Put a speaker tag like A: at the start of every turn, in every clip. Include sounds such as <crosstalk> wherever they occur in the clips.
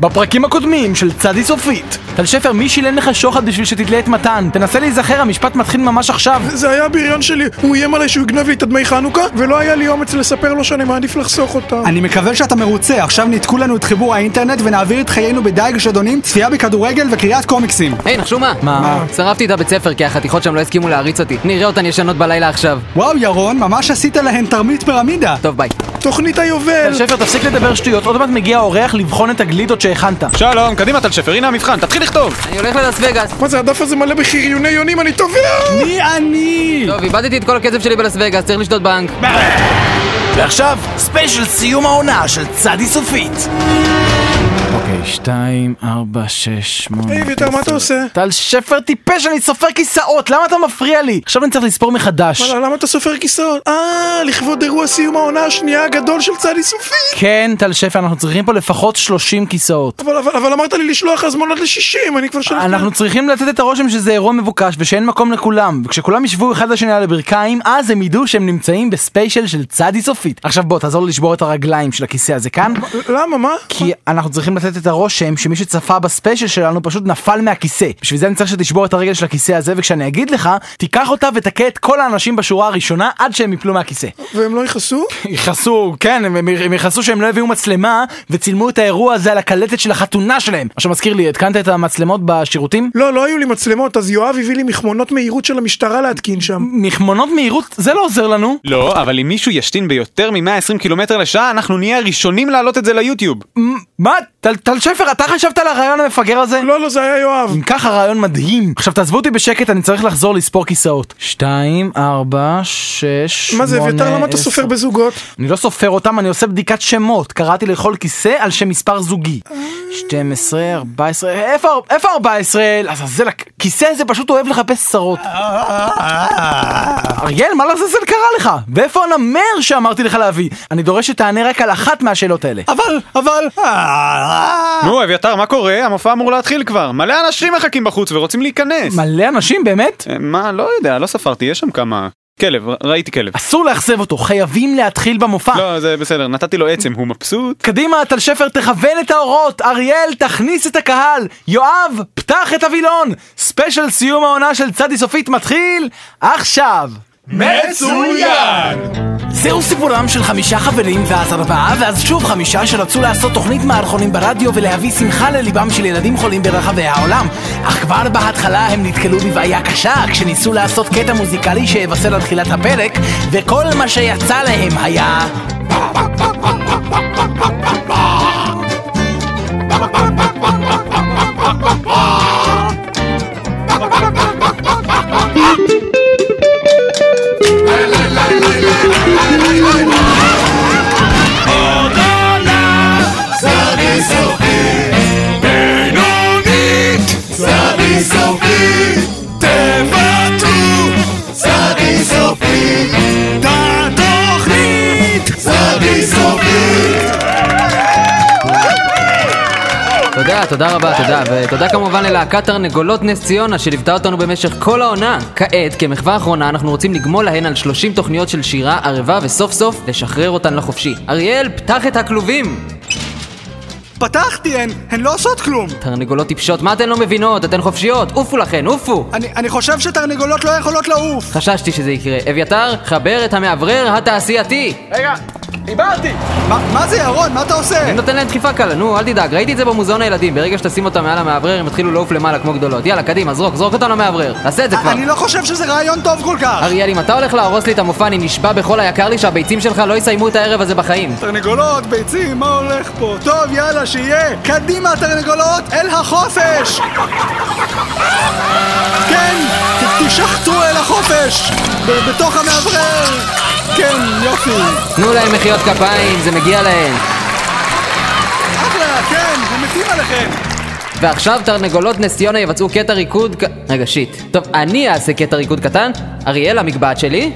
A: בפרקים הקודמים של צדי סופית. טל שפר, מי שילם לך שוחד בשביל שתתלה את מתן? תנסה להיזכר, המשפט מתחיל ממש עכשיו.
B: זה היה הבריון שלי, הוא איים עליי שהוא יגנב לי את הדמי חנוכה, ולא היה לי אומץ לספר לו שאני מעדיף לחסוך אותם.
C: אני מקווה שאתה מרוצה, עכשיו ניתקו לנו את חיבור האינטרנט ונעביר את חיינו בדייג שדונים, צפייה בכדורגל וקריאת קומיקסים.
D: היי, נחשו מה?
A: מה?
D: שרפתי את הבית ספר כי החתיכות שם לא הסכימו להריץ אותי. נראה אותן ישנות בלילה עכשיו.
C: וואו ירון, ממש עשית להן תרמית פירמידה.
D: טוב, ביי.
B: תוכנית היובל!
A: טל שפר, תפסיק לדבר שטויות, עוד מעט מגיע האורח לבחון את הגלידות שהכנת.
E: שלום, קדימה טל שפר, הנה המבחן, תתחיל לכתוב!
D: אני הולך ללאס וגאס.
B: מה זה, הדף הזה מלא בחריוני יונים, אני תובע!
C: מי אני?
D: טוב, איבדתי את כל הכסף שלי בלאס וגאס, צריך לשדוד בנק.
A: ועכשיו, ספיישל סיום העונה של צדי סופית. אוקיי, שתיים, ארבע, שש, שמונה...
B: היי, אביתר, מה אתה עושה?
A: טל שפר טיפש, אני סופר כיסאות, למה אתה מפריע לי? עכשיו אני צריך לספור מחדש.
B: וואלה, למה אתה סופר כיסאות? אה, לכבוד אירוע סיום העונה השנייה הגדול של צדי סופי!
A: כן, טל שפר, אנחנו צריכים פה לפחות 30 כיסאות.
B: אבל, אבל, אבל אמרת לי לשלוח הזמנות ל-60, אני כבר שלחתי...
A: <laughs> אנחנו צריכים לתת את הרושם שזה אירוע מבוקש ושאין מקום לכולם, וכשכולם ישבו אחד לשני על הברכיים, אז הם ידעו שהם נמצאים בספיישל של צדי סופית. עכשיו בוא, תעזור לי לשבור את הרגליים של הכיסא הזה כאן,
B: למה, מה?
A: כי אנחנו צריכים לתת את הרושם שמי שצפה בספיישל שלנו פשוט נפל מהכיסא. בשביל זה אני צריך שתשבור את הרגל של הכיסא הזה, וכשאני אגיד לך, תיקח אותה ותכה את כל האנשים בשורה הראשונה עד שהם יפלו מהכיסא.
B: והם לא יכעסו?
A: יכעסו, כן, הם- הם- הם יכעסו שהם לא הביאו מצלמה, וצילמו את האירוע הזה על הקלטת של החתונה שלהם. מה שמזכיר לי, התקנת את המצלמות בשירותים?
B: לא, לא היו לי מצלמות, אז יואב הביא לי מכמונות מהירות של המשטרה להתקין שם.
A: מכמונות מהירות זה לא עוזר לנו.
E: לא, אבל אם מישהו ישתין ביותר מ-120 קילומטר לשעה, אנחנו נהיה הראשונים להעלות את זה ליוטיוב.
A: מה? טל- טל שפר, אתה חשבת על הרעיון המפגר הזה?
B: לא, לא, זה היה יואב.
A: אם ככה רעיון מדהים. עכשיו תעזבו אותי בשקט, אני צריך לחזור לספור כיסאות. שתיים, ארבע, שש,
B: מה זה,
A: שמונה,
B: אביתר, למה אתה
A: עשר.
B: סופר בזוגות?
A: אני לא סופר אותם, אני עושה בדיקת שמות. קראתי לכל כיסא על שם מספר זוגי. 12, 14, איפה איפה 14? לעזאזל, הכיסא הזה פשוט אוהב לחפש צרות. אריאל, מה לעזאזל קרה לך? ואיפה הנמר שאמרתי לך להביא? אני דורש שתענה רק על אחת מהשאלות האלה.
C: אבל, אבל... אה,
E: נו, אביתר, מה קורה? המופע אמור להתחיל כבר. מלא אנשים מחכים בחוץ ורוצים להיכנס.
A: מלא אנשים, באמת?
E: אה, מה, לא יודע, לא ספרתי, יש שם כמה... כלב, ר- ראיתי כלב.
A: אסור לאכזב אותו, חייבים להתחיל במופע.
E: לא, זה בסדר, נתתי לו עצם, הוא מבסוט.
A: קדימה, טל שפר, תכוון את האורות, אריאל, תכניס את הקהל, יואב, פתח את הווילון, ספיישל סיום העונה של צדי סופית מתחיל עכשיו!
B: מצוין!
A: זהו סיפורם של חמישה חברים ואז ארבעה ואז שוב חמישה שרצו לעשות תוכנית מערכונים ברדיו ולהביא שמחה לליבם של ילדים חולים ברחבי העולם אך כבר בהתחלה הם נתקלו בבעיה קשה כשניסו לעשות קטע מוזיקלי שיבשר על תחילת הפרק וכל מה שיצא להם היה
D: תודה, תודה רבה, תודה. ותודה כמובן ללהקת תרנגולות נס ציונה שליוותה אותנו במשך כל העונה. כעת, כמחווה אחרונה, אנחנו רוצים לגמול להן על 30 תוכניות של שירה, ערבה וסוף סוף לשחרר אותן לחופשי. אריאל, פתח את הכלובים!
C: פתחתי, הן, הן לא עושות כלום.
D: תרנגולות טיפשות, מה אתן לא מבינות? אתן חופשיות, עופו לכן, עופו!
C: אני, אני חושב שתרנגולות לא יכולות לעוף.
D: חששתי שזה יקרה. אביתר, חבר את המאוורר התעשייתי!
C: מה, מה זה ירון? מה אתה עושה?
D: אני נותן להם דחיפה קלה, נו, אל תדאג, ראיתי את זה במוזיאון הילדים. ברגע שתשים אותם מעל המאוורר, הם יתחילו לעוף למעלה כמו גדולות. יאללה, קדימה, זרוק, זרוק אותם למאוורר. תעשה את זה כבר.
C: אני לא חושב שזה רעיון טוב כל כך.
D: אריאל, אם אתה הולך להרוס לי את המופע, אני נשבע בכל היקר לי שהביצים שלך לא יסיימו את הערב הזה בחיים.
C: תרנגולות, ביצים, מה הולך פה? טוב, יאללה, שיהיה. קדימה, תרנגולות, אל החופש! כן, ת- תשחטו אל החופש! ב- בתוך המאוורר! כן, יופי.
D: תנו להם מחיאות כפיים, זה מגיע להם.
C: אחלה, כן, הם מתים עליכם.
D: ועכשיו תרנגולות נס ציונה יבצעו קטע ריקוד ק... רגע, שיט. טוב, אני אעשה קטע ריקוד קטן. אריאל, המקבעת שלי.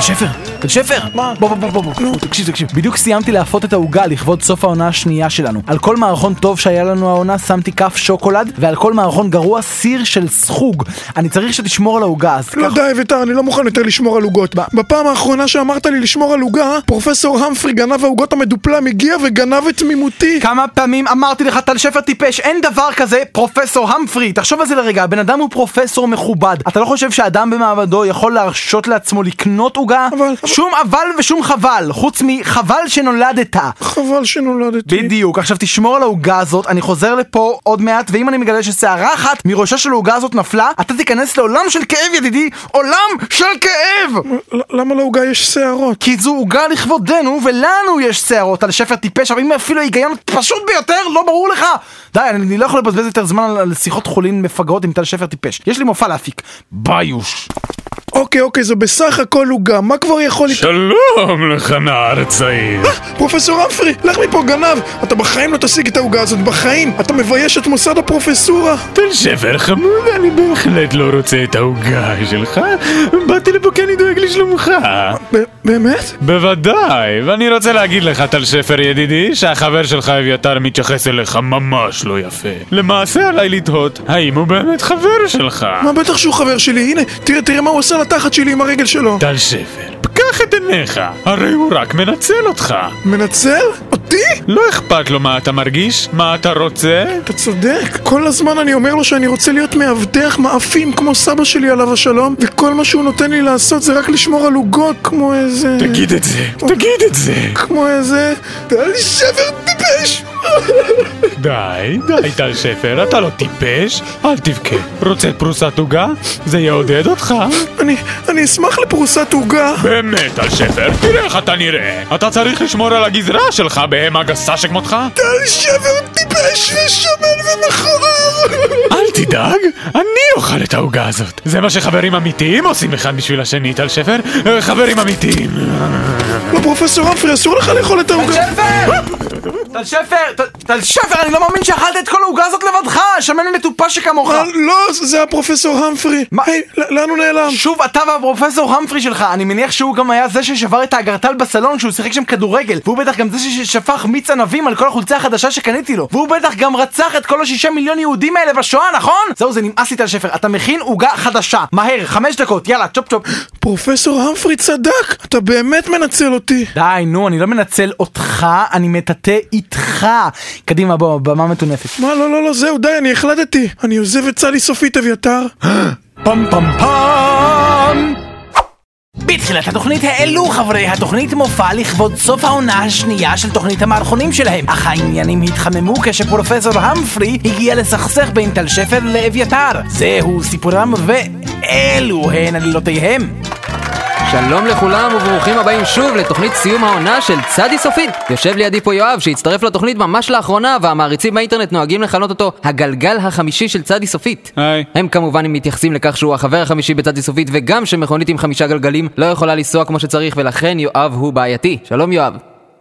A: שפר, שפר!
B: מה?
A: בוא, בוא, בוא, בוא, בוא. תקשיב, תקשיב. בדיוק סיימתי להפות את העוגה לכבוד סוף העונה השנייה שלנו. על כל מערכון טוב שהיה לנו העונה שמתי כף שוקולד, ועל כל מערכון גרוע סיר של סחוג. אני צריך שתשמור על העוגה, אז
B: לא
A: קח...
B: די אביתר, אני לא מוכן יותר לשמור על עוגות. בפעם האחרונה שאמרת לי לשמור על עוגה, פרופסור המפרי גנב העוגות המדופלם הגיע וגנב את תמימותי.
A: כמה פעמים אמרתי לך, טל שפר טיפש, אין דבר כזה פרופסור המפרי. תחשוב על זה לרגע, הבן אדם הוא פרופסור מכובד. אתה לא חושב שאדם במעמדו יכול להרשות לעצמו לקנות עוגה?
B: אבל-
A: שום אבל ושום חבל, חוץ מחבל שנולדת.
B: חבל שנולדתי.
A: בדיוק, עכשיו תשמור על העוגה הזאת, אני חוזר לפה עוד מעט, ואם אני מגלה ששערה אחת מראשה של העוגה הזאת נפלה, אתה תיכנס לעולם של כאב ידידי, עולם של כאב!
B: ל- למה לעוגה יש שערות?
A: כי זו עוגה לכבודנו, ולנו יש שערות על שפר טיפש, אבל אם אפילו ההיגיון פשוט ביותר לא ברור לך! די, אני אני לא יכול לבזבז יותר זמן על- על שיחות חולין מפגרות עם טל שפר טיפש. יש לי מופע להפיק. ביוש.
B: אוקיי, אוקיי, זו בסך הכל עוגה, מה כבר יכול... לת- אה,
F: שלום לך נער צעיר.
B: פרופסור המפרי, לך מפה גנב! אתה בחיים לא תשיג את העוגה הזאת, בחיים! אתה מבייש את מוסד הפרופסורה!
F: תל שפר חמוד, אני בהחלט לא רוצה את העוגה שלך. אה, באתי לפה כי אני דואג לשלומך.
B: ב- באמת?
F: בוודאי, ואני רוצה להגיד לך, טל שפר ידידי, שהחבר שלך אביתר מתייחס אליך ממש לא יפה. למעשה עליי לתהות, האם הוא באמת חבר שלך?
B: מה בטח שהוא חבר שלי, הנה, תראה, תראה מה הוא עשה לתחת שלי עם הרגל שלו.
F: טל שפר, פקח את עיניך, הרי הוא רק מנצל אותך.
B: מנצל? אותי?
F: לא אכפת לו מה אתה מרגיש, מה אתה רוצה,
B: אתה צודק. כל הזמן אני אומר לו שאני רוצה להיות מאבטח מאפים כמו סבא שלי עליו השלום, וכל מה שהוא נותן לי לעשות זה רק לשמור על עוגות כמו איזה...
F: תגיד את זה, תגיד את זה.
B: כמו איזה... היה לי שבר טיפש!
F: די, די טל שפר, אתה לא טיפש, אל תבכה. רוצה פרוסת עוגה? זה יעודד אותך.
B: אני... אני אשמח לפרוסת עוגה.
F: באמת, טל שפר, תראה איך אתה נראה. אתה צריך לשמור על הגזרה שלך בהמה גסה שכמותך.
B: היה לי שבר טיפש ושמן ומכוער!
F: אל תדאג, אני אוכל את העוגה הזאת. זה מה שחברים אמיתיים עושים אחד בשביל השני, טל שפר. אה, חברים אמיתיים.
B: לא, פרופסור אמפרי, אסור לך לאכול את העוגה.
A: שפר! טל שפר! טל- טל שפר, אני לא מאמין שאכלת את כל העוגה הזאת לבדך! שמן מטופש שכמוך!
B: אה, לא, זה הפרופסור המפרי.
A: מה?
B: היי, ל- לאן הוא נעלם?
A: שוב אתה והפרופסור המפרי שלך, אני מניח שהוא גם היה זה ששבר את האגרטל בסלון שהוא שיחק שם כדורגל והוא בטח גם זה ששפך מיץ ענבים על כל החולצה החדשה שקניתי לו והוא בטח גם רצח את כל השישה מיליון יהודים האלה בשואה, נכון? זהו זה נמאס לי טל שפר, אתה מכין עוגה חדשה, מהר, חמש דקות, יאללה, צ'ופ צ'ופ
B: פרופסור המפרי צדק, אתה באמת מנצל אותי.
A: די, נו, אני לא מנצל אותך, אני מטאטא איתך קדימה, בוא, במה מטונפת
B: מה, לא, לא, לא, זהו, די, אני החלטתי. אני עוזב את סלי סופית, אביתר.
C: אה,
A: פם פם פם! בתחילת התוכנית העלו חברי התוכנית מופע לכבוד סוף העונה השנייה של תוכנית המערכונים שלהם, אך העניינים התחממו כשפרופסור המפרי הגיע לסכסך בין טל שפר לאביתר. זהו סיפורם ואלו הן עלילותיהם.
D: שלום לכולם וברוכים הבאים שוב לתוכנית סיום העונה של צדי סופית. יושב לידי פה יואב שהצטרף לתוכנית ממש לאחרונה והמעריצים באינטרנט נוהגים לכנות אותו הגלגל החמישי של צדי סופית.
E: היי.
D: הם כמובן הם מתייחסים לכך שהוא החבר החמישי בצדי סופית וגם שמכונית עם חמישה גלגלים לא יכולה לנסוע כמו שצריך ולכן יואב הוא בעייתי. שלום יואב.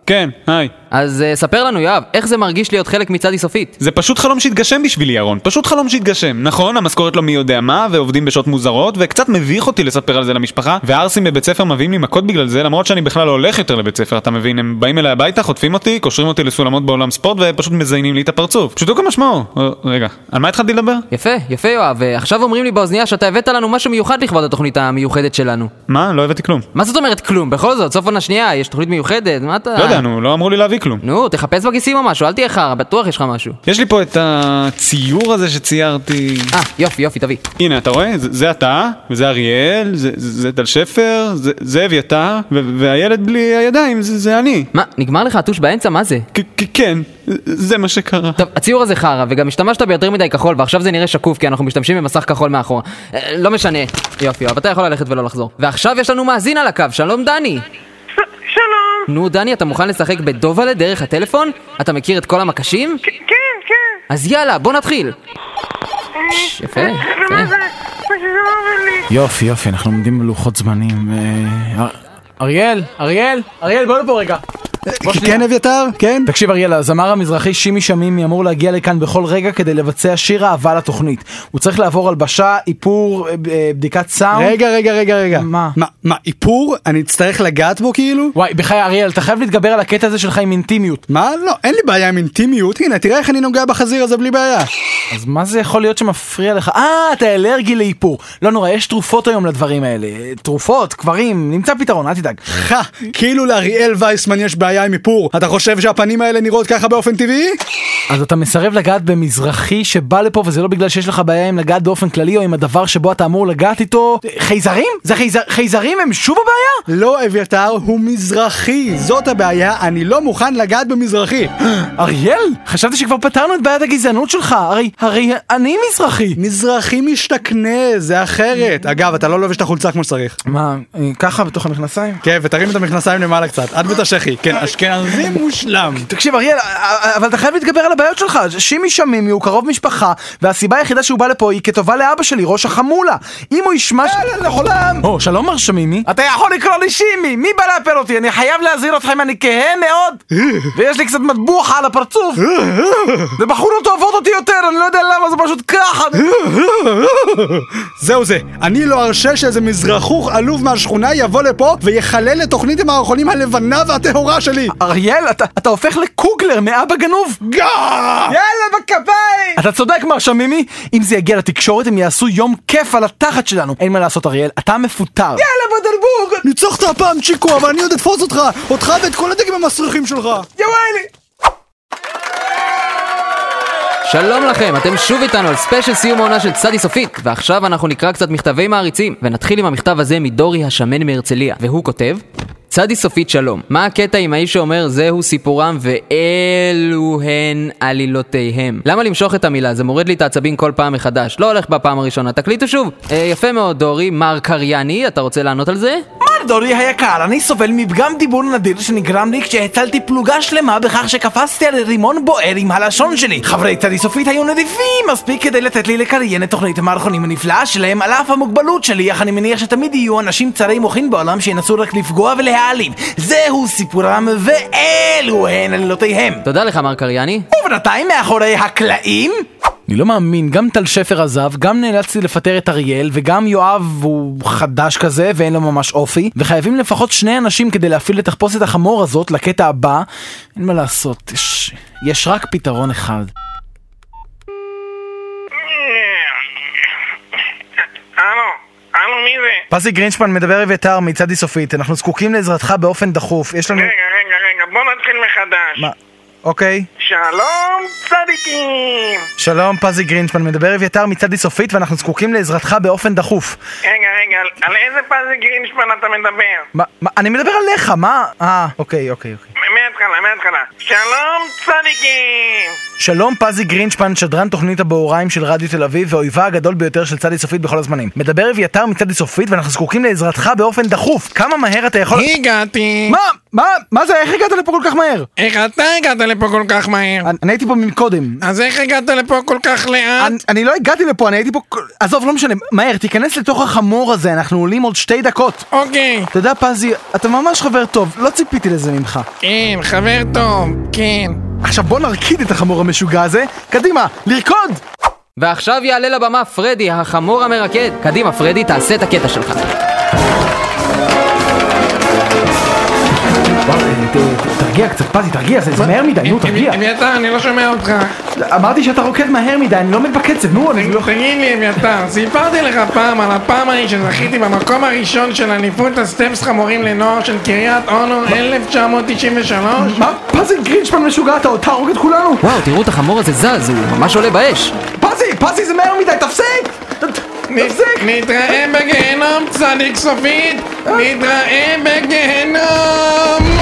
E: כן, היי.
D: אז uh, ספר לנו יואב, איך זה מרגיש להיות חלק מצדי סופית?
E: זה פשוט חלום שהתגשם בשבילי, ירון. פשוט חלום שהתגשם. נכון, המשכורת לא מי יודע מה, ועובדים בשעות מוזרות, וקצת מביך אותי לספר על זה למשפחה, והערסים בבית ספר מביאים לי מכות בגלל זה, למרות שאני בכלל לא הולך יותר לבית ספר, אתה מבין? הם באים אליי הביתה, חוטפים אותי, קושרים אותי לסולמות באולם ספורט, ופשוט מזיינים לי את הפרצוף. פשוטו כמשמעו. אה, רגע, על מה התחלתי לדבר?
D: יפה, יפה יואב, אה, עכשיו אומרים לי באוזנייה שאתה הבאת לנו משהו מיוחד לכבוד התוכנית המיוחדת שלנו.
E: מה? לא הבאתי כלום.
D: מה זאת אומרת כלום? בכל זאת, סוף עונה שנייה, יש תוכנית מיוחדת, מה אתה...
E: לא יודע, נו, לא אמרו לי להביא כלום.
D: נו, תחפש בכיסים או משהו, אל תהיה חרא, בטוח יש לך משהו.
E: יש לי פה את הציור הזה שציירתי.
D: אה, יופי, יופי, תביא.
E: הנה, אתה רואה? זה, זה אתה, וזה אריאל, זה, זה טל שפר, זה, זה אביתר, ו- והילד בלי הידיים, זה, זה אני.
D: מה, נגמר לך הטוש באמצע? מה זה?
E: כ- כ- כן, זה מה שקרה.
D: טוב, הציור הזה חרא, וגם השתמשת ביותר מדי כחול, ועכשיו זה נראה שקוף, כי אנחנו משתמשים במסך כחול מאחורה. אה, לא משנה. יופי, יואב, אתה יכול ללכת ולא לחזור. ועכשיו יש לנו מאזין על הקו, שלום דני!
G: שלום.
D: נו, דני, אתה מוכן לשחק בדובלה דרך הטלפון? אתה מכיר את כל המקשים?
G: כן, כן.
D: אז יאללה, בוא נתחיל! ש- יפה,
G: מה זה?
D: יפה.
G: מה שזה לא עובד לי.
A: יופי, יופי, אה, אנחנו עומדים בלוחות זמנים. אריאל, אריאל, אריאל, בוא לפה רגע.
C: כי כן אביתר? כן?
A: תקשיב אריאל, הזמר המזרחי שימי שמימי אמור להגיע לכאן בכל רגע כדי לבצע שיר אהבה לתוכנית. הוא צריך לעבור הלבשה, איפור, אה, אה, בדיקת סאונד.
C: רגע, רגע, רגע, רגע.
A: מה?
C: מה, איפור? אני אצטרך לגעת בו כאילו?
A: וואי, בחיי אריאל, אתה חייב להתגבר על הקטע הזה שלך עם אינטימיות.
C: מה? לא, אין לי בעיה עם אינטימיות. הנה, תראה איך אני נוגע בחזיר הזה בלי בעיה.
A: אז מה זה יכול להיות שמפריע לך? אה, אתה אלרגי לאיפור. לא נורא, יש תרופות היום לדברים האלה. תרופות, קברים, נמצא פתרון, אל תדאג.
C: חה, כאילו לאריאל וייסמן יש בעיה עם איפור. אתה חושב שהפנים האלה נראות ככה באופן טבעי?
A: אז אתה מסרב לגעת במזרחי שבא לפה וזה לא בגלל שיש לך בעיה עם לגעת באופן כללי או עם הדבר שבו אתה אמור לגעת איתו. חייזרים? זה חייזר... חייזרים הם שוב הבעיה?
C: לא, אביתר, הוא מזרחי. זאת הבעיה, אני לא מוכן לגעת במזרחי.
A: אריאל, חשבתי שכבר פתרנו את בעיית הגזענות שלך, הרי, הרי אני מזרחי.
C: מזרחי משתכנה, זה אחרת. אגב, אתה לא לובש את החולצה כמו שצריך.
A: מה, אה, ככה בתוך המכנסיים?
C: כן, ותרים את המכנסיים למעלה קצת. עד ואת השחי. כן, אשכנזי מושלם.
A: תקשיב אריאל, א- א- אבל אתה חייב להתגבר על הבעיות שלך, שימי שמימי הוא קרוב משפחה, והסיבה היחידה שהוא בא לפה היא כטובה לאבא שלי, ראש החמולה. אם הוא ישמע ש... יאללה, לחולם! או, שלום מר שמימי. לא, אתה יכול לקרוא לי שימי, מי בא לאפר אותי? אני חייב להזהיר אתכם, אני כהה מאוד, ויש לי קצת מטבוחה על הפרצוף. זה בחורות אוהבות אותי יותר, אני לא יודע למה, זה פשוט ככה.
C: זהו זה, אני לא ארשה שאיזה מזרחוך עלוב מהשכונה יבוא לפה ויחלל את תוכנית המערכונים הלבנה והטהורה שלי!
A: אריאל, אתה- אתה הופך לקוגלר מאבא גנוב.
C: גאה!
A: יאללה בכפיים! אתה צודק מר שמימי, אם זה יגיע לתקשורת הם יעשו יום כיף על התחת שלנו. אין מה לעשות אריאל, אתה מפוטר. יאללה בדרבוק!
C: ניצחת הפעם צ'יקו, אבל אני עוד אתפוס אותך! אותך ואת כל הדגים המסריחים שלך!
A: יואלי!
D: שלום לכם, אתם שוב איתנו על ספיישל סיום העונה של צדי סופית ועכשיו אנחנו נקרא קצת מכתבי מעריצים ונתחיל עם המכתב הזה מדורי השמן מהרצליה והוא כותב צדי סופית שלום, מה הקטע עם האיש שאומר זהו סיפורם ואלו הן עלילותיהם? למה למשוך את המילה? זה מוריד לי את העצבים כל פעם מחדש, לא הולך בפעם הראשונה, תקליטו שוב. אה, יפה מאוד דורי, מר קרייני, אתה רוצה לענות על זה?
A: מר דורי היקר, אני סובל מפגם דיבור נדיר שנגרם לי כשהצלתי פלוגה שלמה בכך שקפצתי על רימון בוער עם הלשון שלי. חברי צדי סופית היו נדיבים מספיק כדי לתת לי לקריין את תוכנית המערכונים הנפלאה שלהם על אף המוגבלות שלי, אך אני מניח שתמיד יהיו אנשים צרי מוחין בעולם שינסו רק לפגוע ולהעליב. זהו סיפורם ואלו הן עלילותיהם.
D: תודה לך מר קרייני.
A: ובינתיים מאחורי הקלעים? אני לא מאמין, גם טל שפר עזב, גם נאלצתי לפטר את אריאל, וגם יואב הוא חדש כזה ואין לו ממש אופי, וחייבים לפחות שני אנשים כדי להפעיל את תחפושת החמור הזאת לקטע הבא. אין מה לעשות, יש, יש רק פתרון אחד.
H: Ε,
G: הלו, הלו, מי זה?
A: פזי גרינשפן מדבר אביתר מצדי סופית, אנחנו זקוקים לעזרתך באופן דחוף, יש לנו...
G: רגע, רגע, רגע, בוא נתחיל מחדש.
A: מה? אוקיי.
G: שלום, צדיקים!
A: שלום, פזי גרינשפן מדבר אביתר מצדי סופית ואנחנו זקוקים לעזרתך באופן דחוף.
G: רגע, רגע, על- על איזה פזי גרינשפן אתה מדבר?
A: מה? מה? אני מדבר עליך, מה? אה, אוקיי, אוקיי, אוקיי.
G: מ- מההתחלה, מההתחלה. שלום, צדיקים!
A: שלום פזי גרינשפן, שדרן תוכנית הבהוריים של רדיו תל אביב ואויבה הגדול ביותר של צדי סופית בכל הזמנים. מדבר אביתר מצדי סופית ואנחנו זקוקים לעזרתך באופן דחוף. כמה מהר אתה יכול...
H: הגעתי.
A: מה? מה? מה זה? איך הגעת לפה כל כך מהר?
B: אה.
H: איך אתה הגעת לפה כל כך מהר?
A: אני אני הייתי פה מקודם.
H: אז איך הגעת לפה כל כך
B: אה.
H: לאט?
A: אני- אני לא הגעתי לפה, אני הייתי פה... כל- עזוב, לא משנה. מהר, תיכנס לתוך החמור הזה, אנחנו עולים עוד שתי דקות.
H: אוקיי,
A: אתה יודע, פזי, אתה ממש חבר טוב, לא ציפיתי לזה ממך.
H: כן, חבר טוב, כן.
A: עכשיו בוא נרקיד את החמור המשוגע הזה. קדימה, לרקוד!
D: ועכשיו יעלה לבמה פרדי, החמור המרקד. קדימה פרדי, תעשה את הקטע שלך.
A: תרגיע קצת, פזי, תרגיע, זה מהר מדי,
H: אה,
A: נו, תרגיע.
H: אביתר, אני לא שומע אותך.
A: אמרתי שאתה רוקד מהר מדי, אני לא עומד בקצב, נו, אני לא...
H: תגיד לי, אביתר, סיפרתי לך פעם על הפעם ההיא שזכיתי במקום הראשון של אליפות הסטפס חמורים לנוער של קריית אונו 1993?
A: מה? פזי גרינשפן משוגע, אתה אתה הורג את כולנו!
D: וואו, תראו את החמור הזה זז, הוא ממש עולה באש.
A: פזי, פזי זה מהר מדי, תפסיק! תפסיק!
H: נתראה בגיהנום, צדיק סופית! נתראה בגיהנום!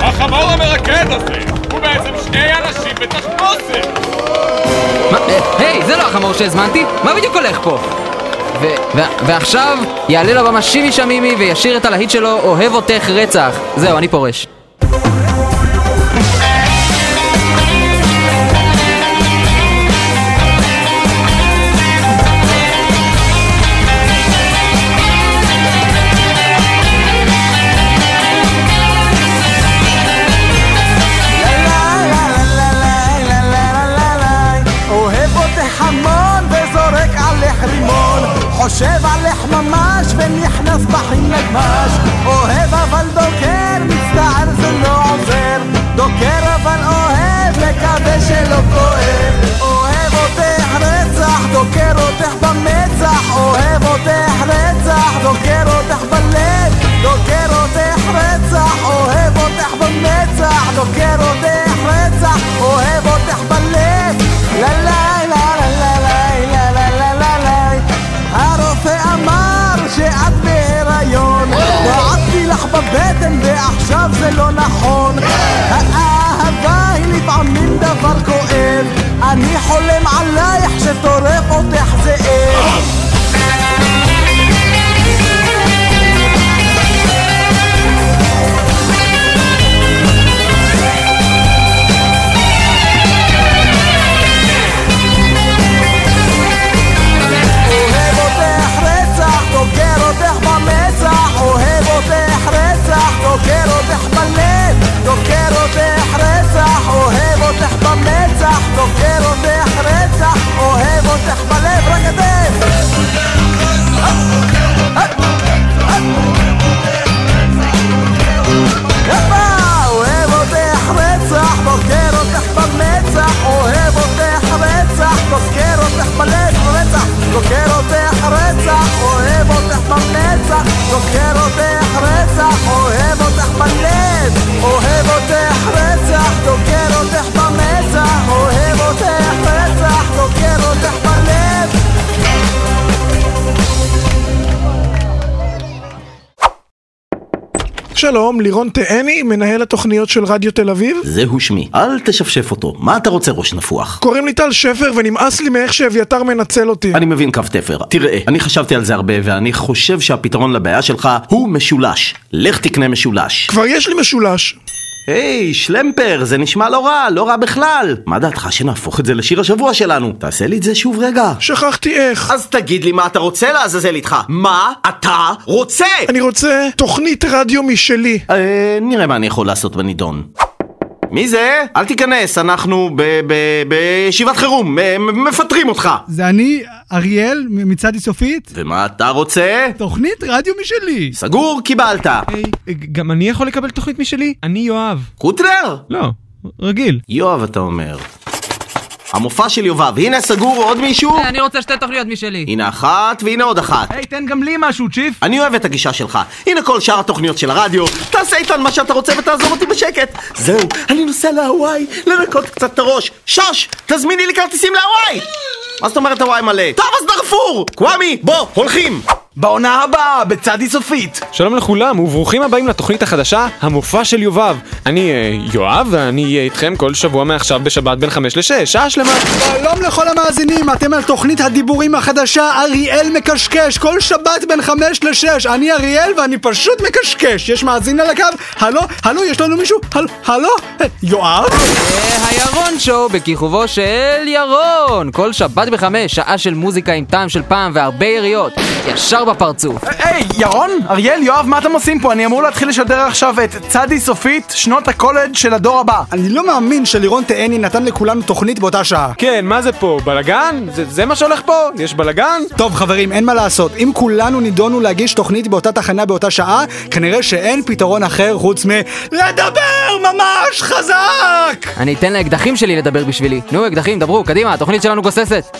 F: החמור המרקד הזה הוא בעצם שני אנשים בתחפושת!
D: מה? אה, היי, זה לא החמור שהזמנתי, מה בדיוק הולך פה? ו- ו- ועכשיו יעלה לבמה שימי שמימי וישיר את הלהיט שלו, אוהב אותך רצח. זהו, אני פורש.
I: Thank
C: לא
I: הבטן ועכשיו זה לא נכון האהבה היא לפעמים דבר כואב אני חולם עלייך שטורף אותך זאב אוהב אותך רצח, דוקר אותך במצח, אוהב אותך רצח, דוקר אותך בלב, דוקר אותך רצח, אוהב אותך במצח, דוקר אותך רצח, אוהב אותך בלב, רק אתם יפה! אוהב אותך רצח, דוקר אותך במצח, אוהב אותך רצח, דוקר אותך בלב, רצח, דוקר אותך רצח, אוהב אותך במצח, דוקר אותך רצח, אוהב אותך בלב, אוהב אותך רצח, דוקר אותך במצח, אוהב אותך רצח, דוקר אותך בלב
B: שלום, לירון תאני, מנהל התוכניות של רדיו תל אביב.
J: זהו שמי. אל תשפשף אותו. מה אתה רוצה, ראש נפוח?
B: קוראים לי טל שפר ונמאס לי מאיך שאביתר מנצל אותי.
J: אני מבין קו תפר. תראה, אני חשבתי על זה הרבה, ואני חושב שהפתרון לבעיה שלך הוא משולש. לך תקנה משולש.
B: כבר יש לי משולש.
J: היי, שלמפר, זה נשמע לא רע, לא רע בכלל. מה דעתך שנהפוך את זה לשיר השבוע שלנו? תעשה לי את זה שוב רגע.
B: שכחתי איך.
J: אז תגיד לי מה אתה רוצה לעזאזל איתך. מה אתה רוצה?
B: אני רוצה תוכנית רדיו משלי.
J: אה, נראה מה אני יכול לעשות בנידון. מי זה? אל תיכנס, אנחנו ב- ב- בישיבת חירום, אה, מ- מפטרים אותך.
C: זה אני, אריאל, מ- מצד איסופית,
J: ומה אתה רוצה?
C: תוכנית רדיו משלי.
J: סגור, קיבלת.
F: גם אני יכול לקבל תוכנית משלי? אני יואב.
J: קוטלר?
F: לא, רגיל.
J: יואב אתה אומר. המופע של יובב, הנה סגור עוד מישהו?
D: אה, אני רוצה שתי תוכניות משלי.
J: הנה אחת והנה עוד אחת.
C: היי, תן גם לי משהו, צ'יף.
J: אני אוהב את הגישה שלך. הנה כל שאר התוכניות של הרדיו. תעשה איתן מה שאתה רוצה ותעזוב אותי בשקט. זהו, אני נוסע להוואי, לנקות קצת את הראש. שוש, תזמיני לי כרטיסים להוואי! מה זאת אומרת הוואי מלא? טוב, אז דרפור! קוואמי, בוא, הולכים!
A: בעונה הבאה, בצד איסופית.
F: שלום לכולם וברוכים הבאים לתוכנית החדשה, המופע של יובב. אני אה, יואב ואני אהיה איתכם כל שבוע מעכשיו בשבת בין 5 ל-6, שעה שלמה.
C: שלום לכל המאזינים, אתם על תוכנית הדיבורים החדשה, אריאל מקשקש, כל שבת בין חמש לשש, אני אריאל ואני פשוט מקשקש. יש מאזין על הקו? הלו, הלו, יש לנו מישהו? הלו, הלו, אה, יואב?
D: הירון שואו בכיכובו של ירון! כל שבת בחמש, שעה של מוזיקה עם טעם של פעם והרבה יריות. ישר בפרצוף.
A: היי, ירון, אריאל, יואב, מה אתם עושים פה? אני אמור להתחיל לשדר עכשיו את צד איסופית, שנות הקולג' של הדור הבא.
C: אני לא מאמין שלירון תאני נתן לכולנו תוכנית באותה שעה.
F: כן, מה זה פה? בלגן? זה, זה מה שהולך פה? יש בלגן?
C: טוב חברים, אין מה לעשות, אם כולנו נידונו להגיש תוכנית באותה תחנה באותה שעה, כנראה שאין פתרון אחר חוץ מ... לדבר ממש חזק!
D: אני אתן לאקדחים שלי לדבר בשבילי. נו, אקדחים, דברו, קדימה, התוכנית שלנו גוססת.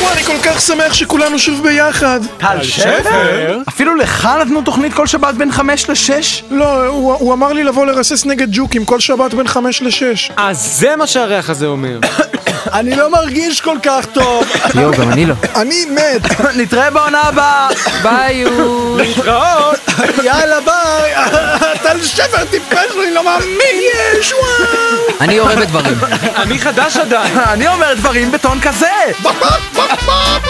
B: וואי, אני כל כך שמח שכולנו שוב ביחד.
A: טל שפר? אפילו לך נתנו תוכנית כל שבת בין חמש לשש?
B: לא, הוא, הוא אמר לי לבוא לרסס נגד ג'וקים כל שבת בין חמש לשש.
F: אז זה מה שהריח הזה
B: <coughs>
F: אומר.
C: אני לא מרגיש כל כך טוב.
D: יואו, גם אני לא.
B: אני מת.
A: <coughs> נתראה בעונה <coughs> הבאה.
D: ביי, יואו.
F: להתראות!
C: יאללה ביי! <laughs> טל שפר טיפש לי, לא מאמין! יש וואו!
D: אני יורה בדברים.
A: <coughs>
F: אני חדש עדיין.
A: אני אומר דברים בטון כזה!
C: פופ, פופ, פופ,